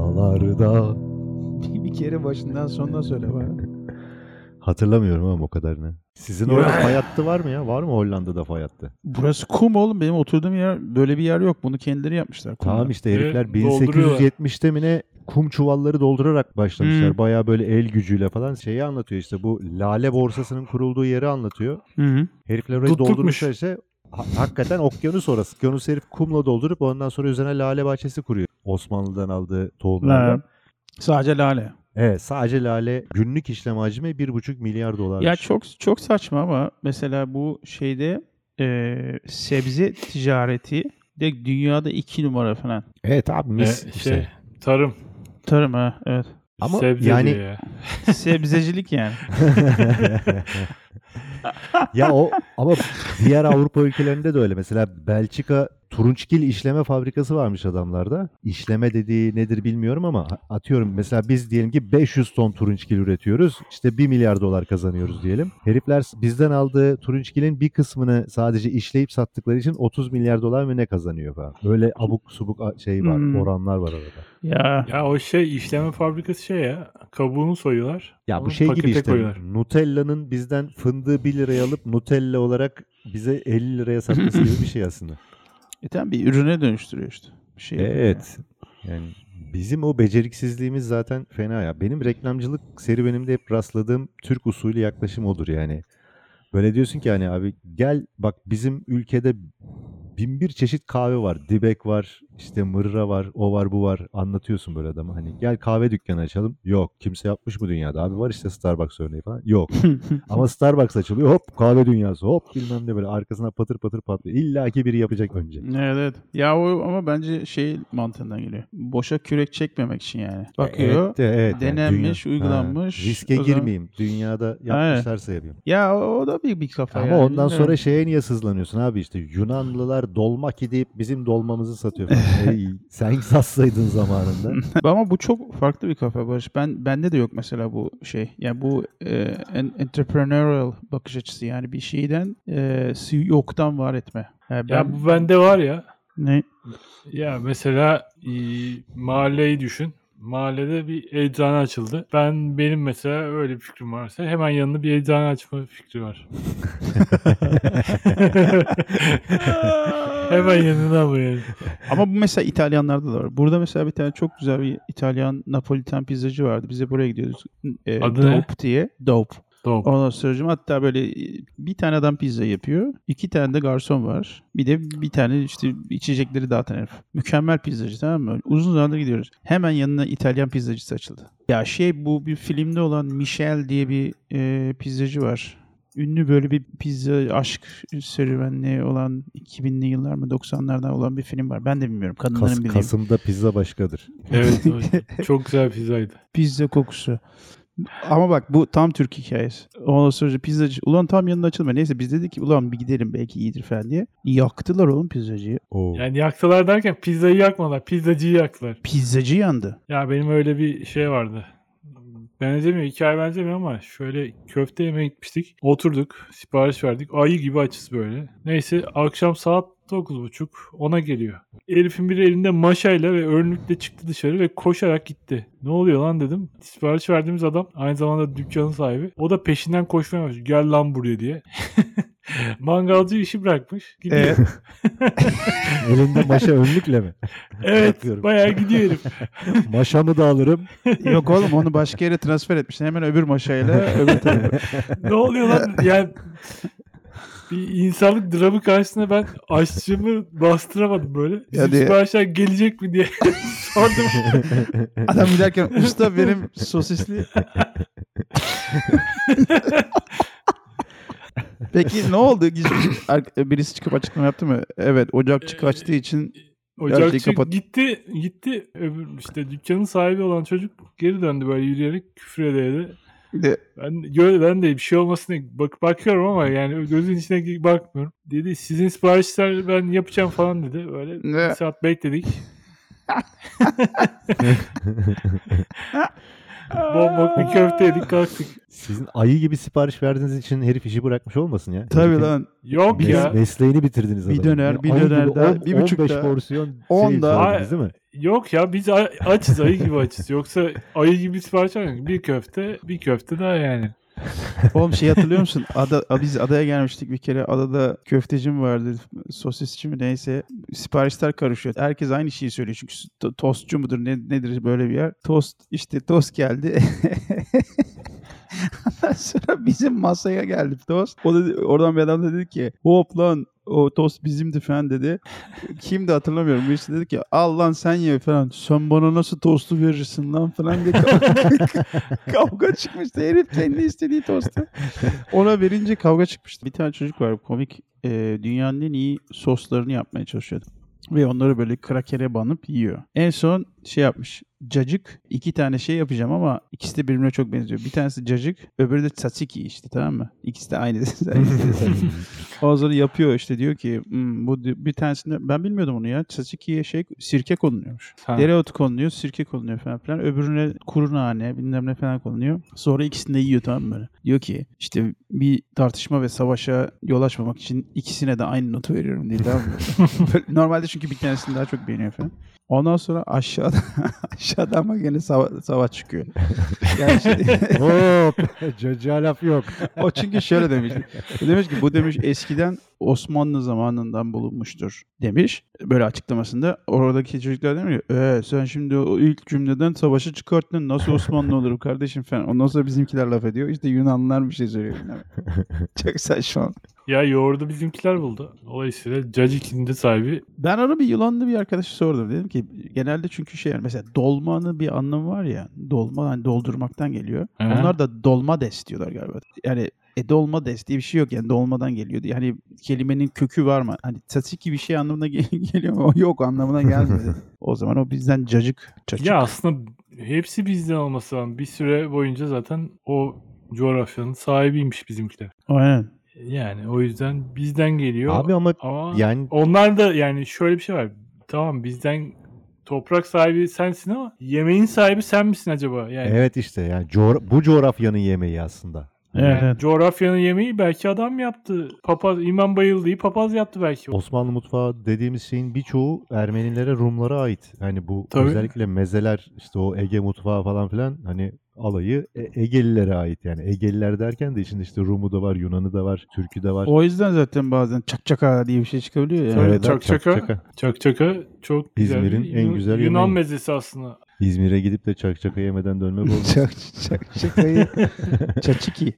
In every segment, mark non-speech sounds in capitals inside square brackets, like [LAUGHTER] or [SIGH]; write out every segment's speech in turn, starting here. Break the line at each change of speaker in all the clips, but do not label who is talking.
Karda.
Bir kere başından sonuna söyle bana.
Hatırlamıyorum ama o kadarını. Sizin orada fay hattı var mı ya? Var mı Hollanda'da fay hattı?
Burası kum oğlum. Benim oturduğum yer böyle bir yer yok. Bunu kendileri yapmışlar. kumda.
Tamam işte herifler
Ve dolduruyorlar.
1870'te mi ne kum çuvalları doldurarak başlamışlar.
Hmm.
Bayağı böyle el gücüyle falan şeyi anlatıyor işte bu lale borsasının kurulduğu yeri anlatıyor.
Hı hı.
Herifler orayı
Tuttukmuş.
doldurmuşlar işte. Ha- hakikaten okyanus orası. Okyanus herif kumla doldurup ondan sonra üzerine lale bahçesi kuruyor. Osmanlı'dan aldığı tohumlardan.
La- Sadece lale.
Evet sadece lale günlük işlem hacmi 1,5 milyar dolar.
Ya çok çok saçma ama mesela bu şeyde e, sebze ticareti de dünyada iki numara falan.
Evet abi
E,
mis işte.
şey, tarım.
Tarım ha
[LAUGHS]
evet.
Ama
sebze
yani-
diyor ya.
Sebzecilik yani.
ya o ama diğer Avrupa ülkelerinde de öyle. Mesela Belçika turunçgil işleme fabrikası varmış adamlarda. İşleme dediği nedir bilmiyorum ama atıyorum mesela biz diyelim ki 500 ton turunçgil üretiyoruz. İşte 1 milyar dolar kazanıyoruz diyelim. Herifler bizden aldığı turunçgilin bir kısmını sadece işleyip sattıkları için 30 milyar dolar mı ne kazanıyor falan. Böyle abuk subuk a- şey var,
Hmm.
oranlar var arada.
Ya
Ya o şey işleme fabrikası şey ya. Kabuğunu soyuyorlar.
Ya bu
onu
şey gibi
pakete
işte
koyuyorlar.
Nutella'nın bizden fındığı 1 liraya alıp Nutella olarak bize 50 liraya satması gibi bir şey aslında.
e tamam bir ürüne dönüştürüyor işte. Bir şey yapıyor yani.
Evet. Yani bizim o beceriksizliğimiz zaten fena ya. Benim reklamcılık serüvenimde hep rastladığım Türk usulü yaklaşım odur yani. Böyle diyorsun ki hani abi gel bak bizim ülkede bin bir çeşit kahve var. Dibek var, işte mırra var, o var bu var. Anlatıyorsun böyle adama hani gel kahve dükkanı açalım. Yok kimse yapmış mı dünyada? Abi var işte Starbucks örneği falan. Yok. Ama Starbucks açılıyor hop kahve dünyası hop bilmem ne böyle arkasına patır patır patlıyor. İlla ki biri yapacak önce.
Evet evet. Ya o ama bence şey mantığından geliyor. Boşa kürek çekmemek için yani. Bakıyor.
E, Evet, de- evet, yani
denenmiş, uygulanmış.
Ha, riske
O zaman-
girmeyeyim. Dünyada yapmışlarsa yapayım.
Ya o, o da bir bir kafa
Ama
yani.
ondan
Bilmiyorum.
sonra şeye niye sızlanıyorsun abi işte Yunanlılar dolma ki deyip bizim dolmamızı
[LAUGHS]
satıyor falan. Ey, sen satsaydın zamanında.
Ama bu çok farklı bir kafa Barış. Ben bende de yok mesela bu şey. Yani bu e, en- entrepreneurial bakış açısı yani bir şeyden e, si- yoktan var etme. Yani
Ya
ben-
bu bende var ya. [LAUGHS]
ne? [LAUGHS]
Ya mesela e, mahalleyi düşün. Mahallede bir eczane açıldı. Ben benim mesela öyle bir fikrim varsa hemen yanına bir eczane açma
[LAUGHS]
fikri var. hemen yanına mı yani?
Ama bu mesela İtalyanlarda da var. Burada mesela bir tane çok güzel bir İtalyan Napolitan pizzacı vardı. Biz de buraya gidiyoruz. E,
Adı
Dope
ne?
diye. Dope.
Doğru.
Ondan sonra hatta böyle e, bir tane adam pizza yapıyor. iki tane de garson var. Bir de bir tane işte içecekleri dağıtan herif. Mükemmel pizzacı tamam mı? Uzun zamandır gidiyoruz. Hemen yanına İtalyan pizzacısı açıldı. Ya şey bu bir filmde olan Michel diye bir e, pizzacı var. Ünlü böyle bir pizza aşk serüvenli olan 2000'li yıllar mı 90'lardan olan bir film var. Ben de bilmiyorum. Kadınların
Kas-
bildiği.
Kasım'da pizza başkadır.
Evet. o- Çok güzel pizzaydı.
Pizza kokusu. Ama bak bu tam Türk hikayesi. Ondan sonra pizzacı. Ulan tam yanında açılma. Neyse biz dedik ki ulan bir gidelim belki iyidir falan diye. Yaktılar oğlum pizzacıyı.
Oo.
Yani yaktılar derken pizzayı yakmadılar. Pizzacıyı yaktılar.
Pizzacı yandı.
Ya benim öyle bir şey vardı. Benzemiyor, hikaye benzemiyor ama şöyle köfte yemeye gitmiştik. Oturduk, sipariş verdik. Ayı gibi açız böyle. Neyse akşam saat 9.30 ona geliyor. Elif'in biri elinde maşayla ve örnükle çıktı dışarı ve koşarak gitti. Ne oluyor lan dedim. Sipariş verdiğimiz adam aynı zamanda dükkanın sahibi. O da peşinden koşmaya başladı. Gel lan buraya diye. Mangalcı işi bırakmış. Gidiyor.
Evet.
Elinde
[LAUGHS]
maşa önlükle mi?
evet
Bakıyorum.
bayağı gidiyor herif.
Maşamı da alırım.
[LAUGHS] Yok oğlum onu başka yere transfer etmişler. Hemen öbür [LAUGHS] maşayla öbür tarafa.
ne
[LAUGHS]
oluyor lan? Yani bir insanlık dramı karşısında ben aşçımı bastıramadım böyle. Bizim
Hadi.
siparişler gelecek mi diye [LAUGHS] sordum.
Adam giderken usta benim [LAUGHS] sosisli. Peki ne oldu? şey, Birisi çıkıp açıklama yaptı mı? Evet ocakçı kaçtığı için Gerçeği
Ocakçı
kapat.
gitti gitti öbür işte dükkanın sahibi olan çocuk geri döndü böyle yürüyerek küfür ederdi.
de
Ben gö- ben de bir şey olmasına bak bakıyorum ama yani gözün içine gi- bakmıyorum. Dedi sizin siparişler ben yapacağım falan dedi. Böyle
Ne?
bir saat bekledik. Bombok bir köfte yedik kalktık.
Sizin ayı gibi sipariş verdiğiniz için herif işi bırakmış olmasın ya.
Tabii
Herifin
lan.
Yok
mes-
ya.
Mesleğini bitirdiniz
Bir
adamın.
döner,
Yani
bir
ayı gibi
döner daha, bir buçuk
15
daha.
porsiyon
On
şey
daha.
söylediniz değil mi?
Yok ya biz a- açız ayı gibi açız. Yoksa ayı gibi sipariş vermiyoruz. Bir köfte bir köfte daha yani.
Oğlum şey hatırlıyor musun? Ada, a- biz adaya gelmiştik bir kere. Adada köftecim vardı. Sosisçi mi neyse. Siparişler karışıyor. Herkes aynı şeyi söylüyor. Çünkü to- tostçu mudur ne, nedir böyle bir yer. Tost işte tost geldi. [LAUGHS] Ondan sonra bizim masaya geldi tost. O da, oradan bir adam da dedi ki hop lan o tost bizimdi falan dedi. Kimdi hatırlamıyorum. Birisi dedi ki al lan sen ye falan. Sen bana nasıl tostu verirsin lan falan diye kavga [LAUGHS] çıkmıştı. Herif kendi istediği tostu. Ona verince kavga çıkmıştı. Bir tane çocuk var komik. e, dünyanın en iyi soslarını yapmaya çalışıyordu. Ve onları böyle krakere banıp yiyor. En son şey yapmış. Cacık. iki tane şey yapacağım ama ikisi de birbirine çok benziyor. Bir tanesi cacık. Öbürü de tzatziki işte tamam mı? İkisi de aynı.
[LAUGHS]
Bazıları yapıyor işte diyor ki "Hmm, bu di- bir tanesinde ben bilmiyordum onu ya. Tzatziki'ye şey sirke konuluyormuş.
Ha.
Dereotu konuluyor, sirke konuluyor falan filan. Öbürüne kuru nane bilmem ne falan konuluyor. Sonra ikisini de yiyor tamam mı böyle. Diyor ki işte bir tartışma ve savaşa yol açmamak için ikisine de aynı notu veriyorum diye tamam mı? Böyle Normalde çünkü bir tanesini daha çok beğeniyor falan. Ondan sonra aşağıda [LAUGHS] aşağıda ama gene sava- savaş çıkıyor. Yani işte- [LAUGHS]
Hop. Cacığa laf yok.
o çünkü şöyle demiş. Demiş ki bu demiş eskiden Osmanlı zamanından bulunmuştur demiş. Böyle açıklamasında oradaki çocuklar demiyor. Ee, sen şimdi o ilk cümleden savaşı çıkarttın. Nasıl Osmanlı olur kardeşim falan. Ondan sonra bizimkiler laf ediyor. İşte Yunanlılar bir şey söylüyor. bilmem. Çok saçma.
Ya yoğurdu bizimkiler buldu. Dolayısıyla Cacik'in de sahibi
Ben ona bir yılanlı bir arkadaşı sordum. Dedim ki genelde çünkü şey yani mesela dolmanın bir anlamı var ya. Dolma hani doldurmaktan geliyor.
Hı.
Onlar da dolma des diyorlar galiba. Yani e, dolma des diye bir şey yok yani dolmadan geliyor. diye. Yani kelimenin kökü var mı? Hani tzatziki bir şey anlamına gel- [LAUGHS] geliyor mu? O Yok anlamına gelmedi. o zaman o bizden cacık. cacık.
Ya aslında hepsi bizden olması lazım. Bir süre boyunca zaten o coğrafyanın sahibiymiş bizimkiler.
Aynen.
Yani o yüzden bizden geliyor.
Abi ama
Ama
yani
onlar da yani şöyle bir şey var. Tamam bizden toprak sahibi sensin ama yemeğin sahibi sen misin acaba? Yani
evet işte yani coğra- bu coğrafyanın yemeği aslında.
Evet. evet.
coğrafyanın yemeği belki adam yaptı. Papaz imam bayıldığı papaz yaptı belki.
Osmanlı mutfağı dediğimiz şeyin birçoğu Ermenilere, Rumlara ait. Hani bu
Tabii.
özellikle mezeler işte o Ege mutfağı falan filan hani alayı E- Egelilere ait yani. Egeliler derken de içinde işte Rum'u da var, Yunan'ı da var, Türk'ü de var.
O yüzden zaten bazen çak çaka diye bir şey çıkabiliyor ya.
Tabii.
Evet,
Çak Çaka.
Çaka.
Çak çaka çok güzel. bir
İzmir'in en
Yun-
güzel
Yunan
yemeği.
mezesi aslında.
İzmir'e gidip de çak çaka yemeden dönmek olmaz.
Çak, çak, çakayı. Çaçiki.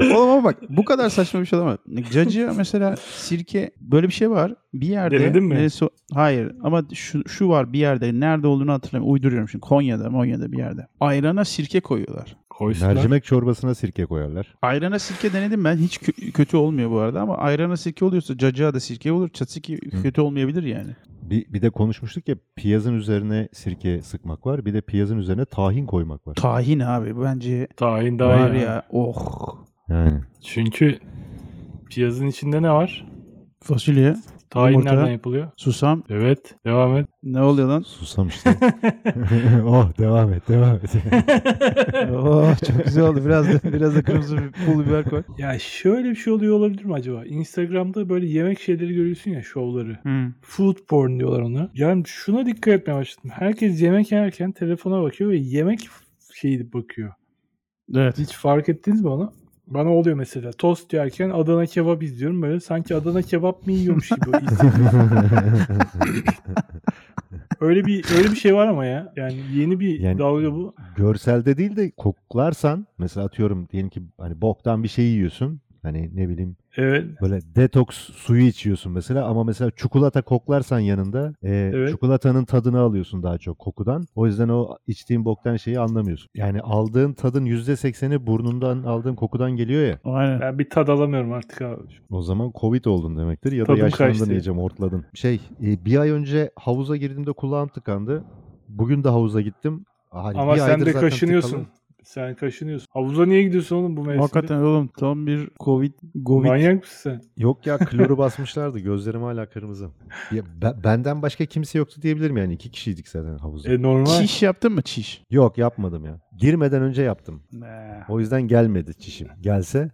Oğlum ama bak bu kadar saçma bir şey olamaz. Cacı mesela sirke böyle bir şey var. Bir yerde.
Denedin mi?
Neresi o- hayır ama şu, şu var bir yerde. Nerede olduğunu hatırlamıyorum. Uyduruyorum şimdi. Konya'da, Monya'da bir yerde. Ayrana sirke koyuyorlar.
Koysunlar.
Mercimek çorbasına sirke koyarlar.
Ayrana sirke denedim ben. Hiç kö- kötü olmuyor bu arada ama ayrana sirke oluyorsa cacığa da sirke olur. Çatsiki
Hı.
kötü olmayabilir yani.
Bir, bir de konuşmuştuk ya piyazın üzerine sirke sıkmak var. Bir de piyazın üzerine tahin koymak var.
Tahin abi bence
Tahin daha
var
iyi.
ya. Oh.
Yani.
Çünkü piyazın içinde ne var?
Fasulye,
Tahin
Yumurta.
nereden yapılıyor?
susam.
Evet. Devam et.
Ne oluyor lan?
Susam işte. [LAUGHS] oh devam et devam et. [LAUGHS]
Oh çok güzel oldu. Biraz da biraz da kırmızı bir pul biber koy.
Ya şöyle bir şey oluyor olabilir mi acaba? Instagram'da böyle yemek şeyleri görüyorsun ya şovları. Food porn diyorlar ona. Yani şuna dikkat etmeye başladım. Herkes yemek yerken telefona bakıyor ve yemek şeyi bakıyor.
Evet.
Hiç fark ettiniz mi onu? Bana oluyor mesela. Tost yerken Adana kebap izliyorum böyle. Sanki Adana kebap mı yiyormuş gibi.
[LAUGHS]
hissediyorum. öyle bir öyle bir şey var ama ya. Yani yeni bir
Yani-
dalga bu.
Görselde değil de koklarsan mesela atıyorum diyelim ki hani boktan bir şey yiyorsun. Hani ne bileyim
Evet.
böyle detoks suyu içiyorsun mesela ama mesela çikolata koklarsan yanında e, çikolatanın tadını alıyorsun daha çok kokudan. O yüzden o içtiğin boktan şeyi anlamıyorsun. Yani aldığın tadın %80'i burnundan aldığın kokudan geliyor ya.
Aynen.
Ben bir tad alamıyorum artık abi.
O zaman Covid oldun demektir ya
Tadım
da yaşlandın
kaçtı.
diyeceğim ortladın. Şey e, bir ay önce havuza girdiğimde kulağım tıkandı. Bugün de havuza gittim. Hani
Ama
bir
sen
aydır
de
zaten
kaşınıyorsun.
tıkalı.
Sen kaşınıyorsun. Havuza niye gidiyorsun oğlum bu mevsimde?
Hakikaten oğlum tam bir Covid, Covid.
Manyak mısın sen?
Yok ya
[LAUGHS]
kloru basmışlardı. Gözlerim hala kırmızı. Ya, be- benden başka kimse yoktu diyebilirim yani. iki kişiydik zaten havuzda.
E normal.
Çiş yaptın mı çiş?
Yok yapmadım ya. Girmeden önce yaptım. O yüzden gelmedi çişim. Gelse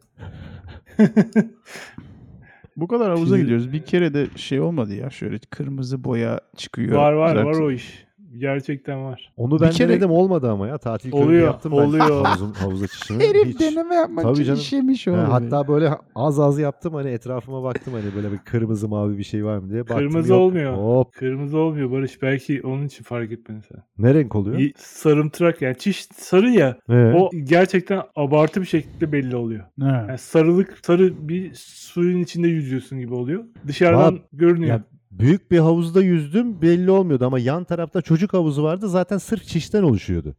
Bu kadar havuza
Şimdi-
gidiyoruz. Bir kere de şey olmadı ya şöyle kırmızı boya çıkıyor.
var var var
şey.
Zaten-
o iş. Gerçekten var.
onu
Bir
ben
kere-
denedim olmadı ama ya. Tatil köyünde
Oluyor,
yaptım ben
oluyor.
havuzun, havuza [LAUGHS] çişimi.
Herif
Hiç.
deneme yapmak
Tabii
için
canım.
işemiş
Ha,
oğlum.
Ee, hatta böyle az az yaptım hani etrafıma baktım hani böyle bir kırmızı mavi bir şey var mı diye. Baktım,
Kırmızı
yok.
olmuyor.
Hop.
Kırmızı olmuyor Barış. Belki onun için fark etmedin sen.
Ne renk oluyor?
Y- Sarımtırak yani çiş sarı ya.
Ee,
O gerçekten abartı bir şekilde belli oluyor.
Ha.
Yani sarılık sarı bir suyun içinde yüzüyorsun gibi oluyor. Dışarıdan
Valla-
görünüyor.
Ya [LAUGHS] büyük bir havuzda yüzdüm belli olmuyordu ama yan tarafta çocuk havuzu vardı zaten sırf çişten oluşuyordu.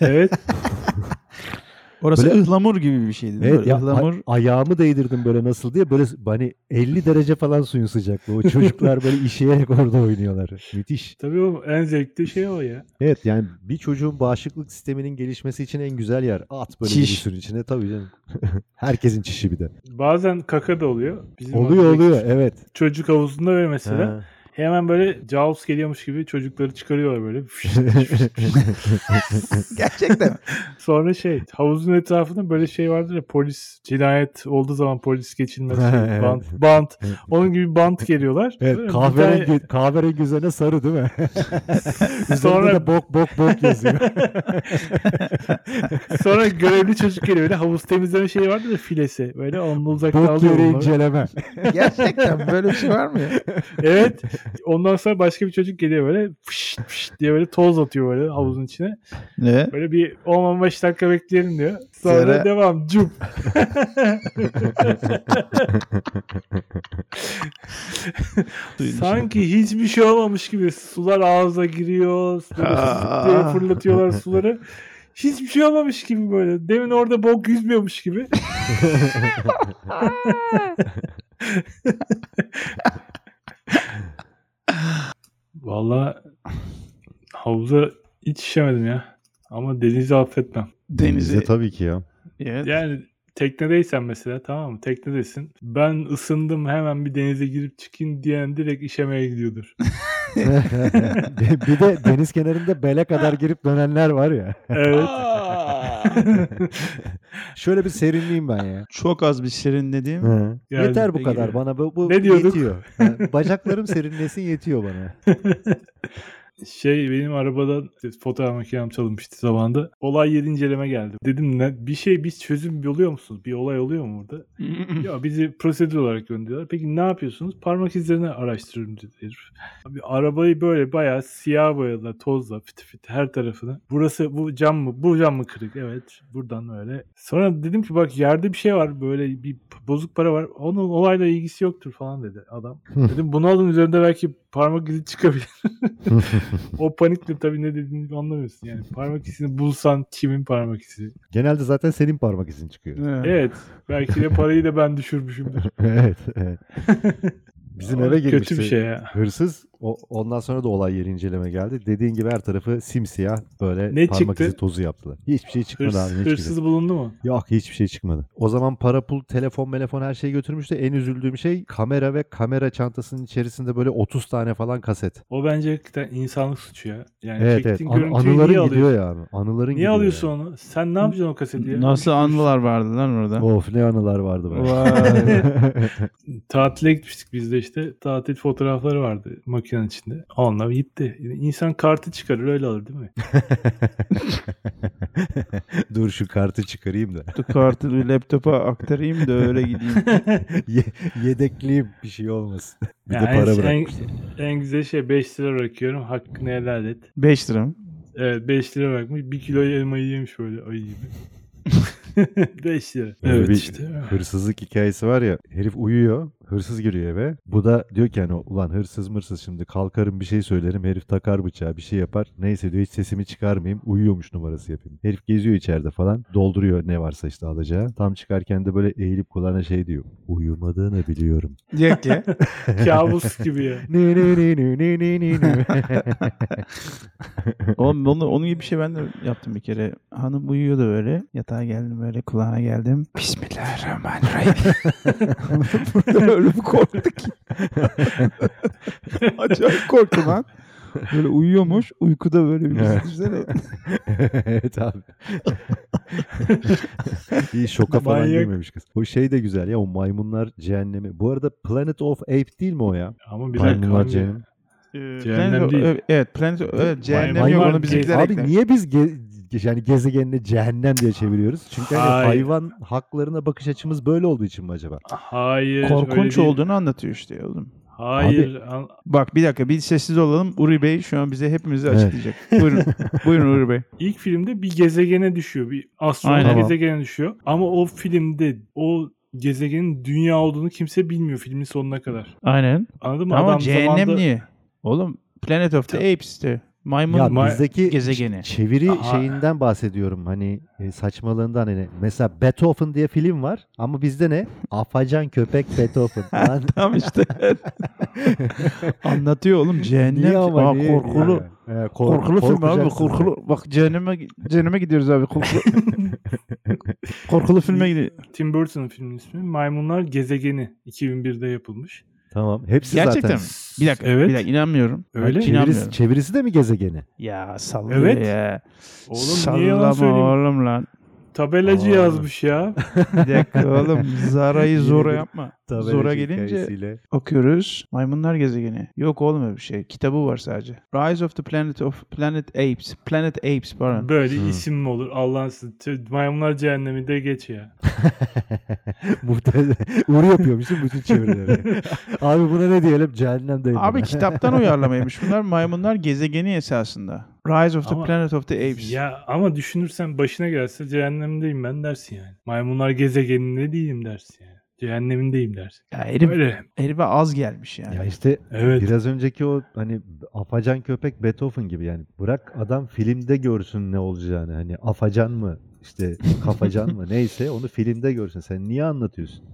Evet.
Orası
Böyle-
ıhlamur gibi bir şeydi değil
Evet
mi?
ya [LAUGHS]
Ihlamur.
a- ayağımı değdirdim böyle nasıl diye böyle hani 50 derece falan suyun sıcaklığı. O çocuklar
[LAUGHS]
böyle işeyerek orada oynuyorlar. Müthiş.
Tabii oğlum en zevkli şey o ya.
Evet yani bir çocuğun bağışıklık sisteminin gelişmesi için en güzel yer. At böyle bir
Çiş.
sürün içine tabii canım. [LAUGHS] Herkesin çişi bir de.
Bazen kaka da oluyor. Bizim
Oluyor
oradaki
oluyor evet.
Çocuk havuzunda ve mesela
Ha.
hemen böyle Jaws geliyormuş gibi çocukları çıkarıyorlar böyle.
[LAUGHS]
[LAUGHS] Gerçekten.
Sonra şey havuzun etrafında böyle şey vardır ya polis cinayet olduğu zaman
[LAUGHS]
polis geçilmez. şey,
Evet.
bant, bant. Onun gibi bant geliyorlar. Böyle
Evet
bir
kahverengi,
tane-
kahverengi üzerine sarı değil mi? Üzerinde
Sonra-
de bok bok [LAUGHS] bok yazıyor.
Sonra görevli çocuk geliyor böyle havuz temizleme şeyi vardır ya filesi. Böyle onunla uzakta
bok
alıyor.
yeri
onları.
inceleme.
Gerçekten böyle bir şey var mı ya?
Evet. Ondan sonra başka bir çocuk geliyor böyle fış fış diye böyle toz atıyor böyle havuzun içine.
Ne?
Böyle bir 10-15 dakika bekleyelim diyor. Sonra
Sonra-
devam cum. Sanki hiçbir şey olmamış gibi sular ağza giriyor. Böyle
Aa.
sıkıyor, fırlatıyorlar suları. Hiçbir şey olmamış gibi böyle. Demin orada bok yüzmüyormuş gibi. Vallahi havuza hiç işemedim ya. Ama denizi affetmem.
Denize.
tabii ki ya.
Evet.
Yani teknedeysen mesela tamam mı? Teknedesin. Ben ısındım hemen bir denize girip çıkayım diyen direkt işemeye gidiyordur.
[LAUGHS] bir de deniz kenarında bele kadar girip dönenler var ya.
Evet.
Şöyle bir serinleyeyim ben ya.
Çok az bir serinledim.
Hı.
Geldik
yeter bu
de
kadar
geliyor.
bana. Bu, bu
Ne diyorduk?
yetiyor. Ha, bacaklarım serinlesin yetiyor bana.
Şey benim arabadan işte fotoğraf makinem çalınmıştı zamanında. Olay yeri inceleme geldi. Dedim ne, bir şey biz çözüm buluyor musunuz? Bir olay oluyor mu burada? Ya bizi prosedür olarak gönderiyorlar. Peki ne yapıyorsunuz? Parmak izlerini araştırıyorum dedi herif. Abi arabayı böyle bayağı siyah boyadılar tozla fiti fiti her tarafını. Burası bu cam mı? Bu cam mı kırık? Evet. Buradan öyle. Sonra dedim ki bak yerde bir şey var böyle bir p- bozuk para var. Onun olayla ilgisi yoktur falan dedi adam. dedim bunu alın üzerinde belki parmak
[LAUGHS]
izi çıkabilir. o panikle tabii ne dediğini anlamıyorsun yani. Parmak izini bulsan kimin parmak izi?
Genelde zaten senin parmak izin çıkıyor.
Evet.
Evet. Belki de parayı da ben düşürmüşümdür.
evet, [LAUGHS] evet. Bizim
Ama
eve girmişti.
Kötü bir şey ya.
Hırsız o, ondan sonra da olay yeri inceleme geldi. Dediğin gibi her tarafı simsiyah böyle
Ne
parmak
çıktı?
izi tozu yaptılar. Hiçbir şey çıkmadı
Hırs-
abi. hiçbiri.
hırsız bulundu mu?
Yok hiçbir şey çıkmadı. O zaman para pul, telefon, telefon her şeyi götürmüştü. En üzüldüğüm şey kamera ve kamera çantasının içerisinde böyle 30 tane falan kaset.
O bence hakikaten insanlık suçu ya. Yani
evet evet.
çektiğin
An-
görüntüyü niye
anıların
alıyorsun?
gidiyor ya abi. Anıların
Niye
gidiyor
alıyorsun
ya.
onu? Sen ne yapacaksın o kaseti ya?
Nasıl anılar vardı lan orada?
Of ne anılar vardı be.
Vay.
Tatile gitmiştik biz de işte. Tatil fotoğrafları vardı makinenin içinde. Onlar gitti. İnsan kartı çıkarır öyle alır değil mi?
[LAUGHS]
[LAUGHS]
Dur şu kartı çıkarayım da. [LAUGHS]
Bu kartı bir laptopa aktarayım da öyle gideyim. [LAUGHS]
Ye- yedekleyeyim bir şey olmasın. [LAUGHS] Bir de
Yani
para
en,
bırak.
en, en güzel şey 5 lira bırakıyorum. Hakkını helal et.
5 lira mı?
Evet 5 lira bırakmış. 1 kilo elma yemiş böyle ayı
[LAUGHS]
gibi. [LAUGHS] 5 lira.
Öyle
Evet
bir
işte.
[LAUGHS] Hırsızlık hikayesi var ya. Herif uyuyor. hırsız giriyor eve. Bu da diyor ki hani ulan hırsız mırsız şimdi kalkarım bir şey söylerim herif takar bıçağı bir şey yapar. Neyse diyor hiç sesimi çıkarmayayım uyuyormuş numarası yapayım. Herif geziyor içeride falan dolduruyor ne varsa işte alacağı. Tam çıkarken de böyle eğilip kulağına şey diyor. Uyumadığını biliyorum.
Diyor ki
Kabus gibi ya.
Nü nü nü nü nü nü nü nü.
[LAUGHS]
[LAUGHS]
Oğlum onu, onun gibi bir şey ben de yaptım bir kere. Hanım uyuyordu böyle. Yatağa geldim böyle kulağına geldim. Bismillahirrahmanirrahim. Burada [LAUGHS] öyle bir korktu ki. [LAUGHS] Acayip korktu lan. Böyle uyuyormuş. Uykuda böyle bir
Evet.
düşünsene.
[LAUGHS] evet abi. İyi şoka falan
Manyak.
girmemiş kız. O şey de güzel ya o maymunlar cehennemi. Bu arada Planet of Ape değil mi o ya?
Ama bir dakika.
Maymunlar
abi.
cehennemi.
Cehennem değil.
Evet, planet, evet, cehennem yok
Maymunlar
onu bizimkiler
Abi
ekler.
niye biz ge- ge- yani gezegenine cehennem diye çeviriyoruz? Çünkü hani
Hayır.
hayvan haklarına bakış açımız böyle olduğu için mi acaba?
Hayır.
Korkunç
öyle değil.
olduğunu anlatıyor işte oğlum.
Hayır. an-
Bak bir dakika bir sessiz olalım. Uri Bey şu an bize hepimizi
Evet.
açıklayacak. Buyurun. Buyurun Uri Bey.
İlk filmde bir gezegene düşüyor. Bir astronot
Aynen.
gezegene düşüyor. Ama o filmde o gezegenin dünya olduğunu kimse bilmiyor filmin sonuna kadar.
Aynen.
Anladın mı?
Ama
Adam
cehennem
zamanda-
niye? Oğlum Planet of the Apes de. Maymun
Ya Şey-
ma-
bizdeki
gezegeni.
çeviri
Aha.
şeyinden bahsediyorum hani e, saçmalığından hani mesela Beethoven diye film var ama bizde ne? Afacan köpek Beethoven. Lan
Tam işte. Anlatıyor oğlum cehennem.
niye ama
Aa,
niye?
korkulu.
Yani, e, kork-
Korkulu film abi
korkacaksın.
korkulu. Bak cehenneme, cehenneme gidiyoruz abi korkulu. korkulu filme gidiyoruz.
Tim Burton'ın filmin ismi Maymunlar Gezegeni 2001'de yapılmış.
Tamam. Hepsi
Gerçekten
zaten.
mi? Bir dakika,
Evet.
bir dakika inanmıyorum.
Öyle.
Çin- İnanmıyorum.
Çevirisi, çevirisi de mi gezegeni?
Ya sallıyor
Evet.
ya.
Oğlum niye yalan
Sallama
söyleyeyim?
oğlum lan.
Tabelacı
Aa. [LAUGHS]
yazmış ya.
Bir dakika oğlum Zara'yı
Yeni
zora
bir
yapma.
Tabii
zora
öyle [LAUGHS]
gelince
hikayesiyle.
okuyoruz. Maymunlar gezegeni. Yok oğlum öyle bir şey. Kitabı var sadece. Rise of the Planet of Planet Apes. Planet Apes pardon.
Böyle
Hı.
isim mi olur? Allah'ın sizi- tü- Maymunlar Cehennemi de geç ya.
Muhtemelen Uğur yapıyormuş değil mi bütün [LAUGHS]
[LAUGHS]
çevirileri? Abi buna ne diyelim? Cehennem de. [LAUGHS]
Abi kitaptan uyarlamaymış bunlar. Maymunlar gezegeni esasında. Rise of the
Ama-
Planet of the Apes.
Ya ama düşünürsen başına gelse cehennemdeyim ben dersin yani. Maymunlar Gezegeninde değilim dersin yani. Cehennemindeyim dersin.
Ya herif,
Öyle.
herife az gelmiş yani.
Ya işte
Evet.
biraz önceki o hani afacan köpek Beethoven gibi yani bırak adam filmde görsün ne olacağını hani afacan mı işte kafacan [LAUGHS] mı neyse onu filmde görsün sen niye anlatıyorsun?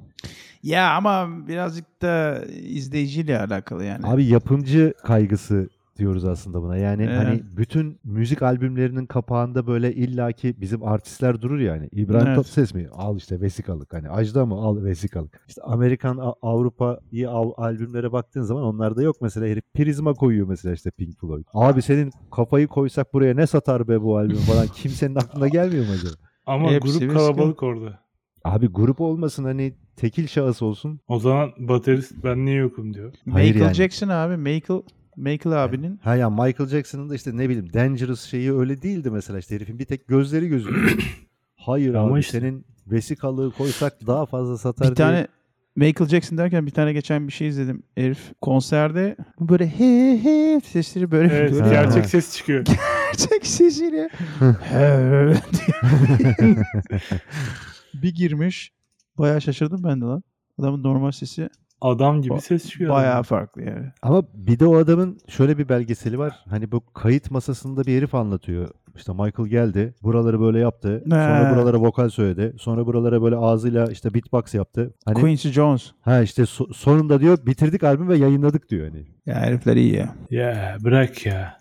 Ya ama birazcık da izleyiciyle alakalı yani.
Abi yapımcı kaygısı diyoruz aslında buna yani
Evet.
hani bütün müzik albümlerinin kapağında böyle illaki bizim artistler durur yani İbrahim
Evet.
Tatlıses mi al işte vesikalık hani Ajda mı al vesikalık işte Amerikan A- Avrupa'yı al- albümlere baktığın zaman onlarda yok mesela herif prizma koyuyor mesela işte Pink Floyd abi senin kafayı koysak buraya ne satar be bu albüm
[LAUGHS]
falan kimsenin aklına gelmiyor mu acaba?
Ama
Hepsi
grup
riskli.
kalabalık orada.
Abi grup olmasın hani tekil şahıs olsun.
O zaman baterist ben niye yokum diyor.
Michael
hayır yani.
Jackson abi. Michael, Michael abinin
Ha ya Michael Jackson'ın da işte ne bileyim Dangerous şeyi öyle değildi mesela işte herifin bir tek gözleri
[CLEARS THROAT]
gözüküyor. Hayır
Ama
abi
işte-
senin vesikalığı
[LAUGHS]
koysak daha fazla satar
Bir
diye.
tane Michael Jackson derken bir tane geçen bir şey izledim. Herif konserde bu böyle he he sesleri böyle
Evet
böyle
gerçek ses çıkıyor.
[LAUGHS] gerçek sesiyle he [LAUGHS] diye. bir girmiş. Bayağı şaşırdım ben de lan. Adamın normal sesi
Adam gibi
Ba-
ses çıkıyor.
bayağı farklı yani.
[LAUGHS] Ama bir de o adamın şöyle bir belgeseli var. Hani bu kayıt masasında bir herif anlatıyor. İşte Michael geldi. Buraları böyle yaptı. Sonra
He.
buralara vokal söyledi. Sonra buralara böyle ağzıyla işte beatbox yaptı. Hani
Quincy Jones.
ha işte so- sonunda diyor bitirdik albüm ve yayınladık diyor hani.
Ya herifler iyi ya.
Ya bırak ya.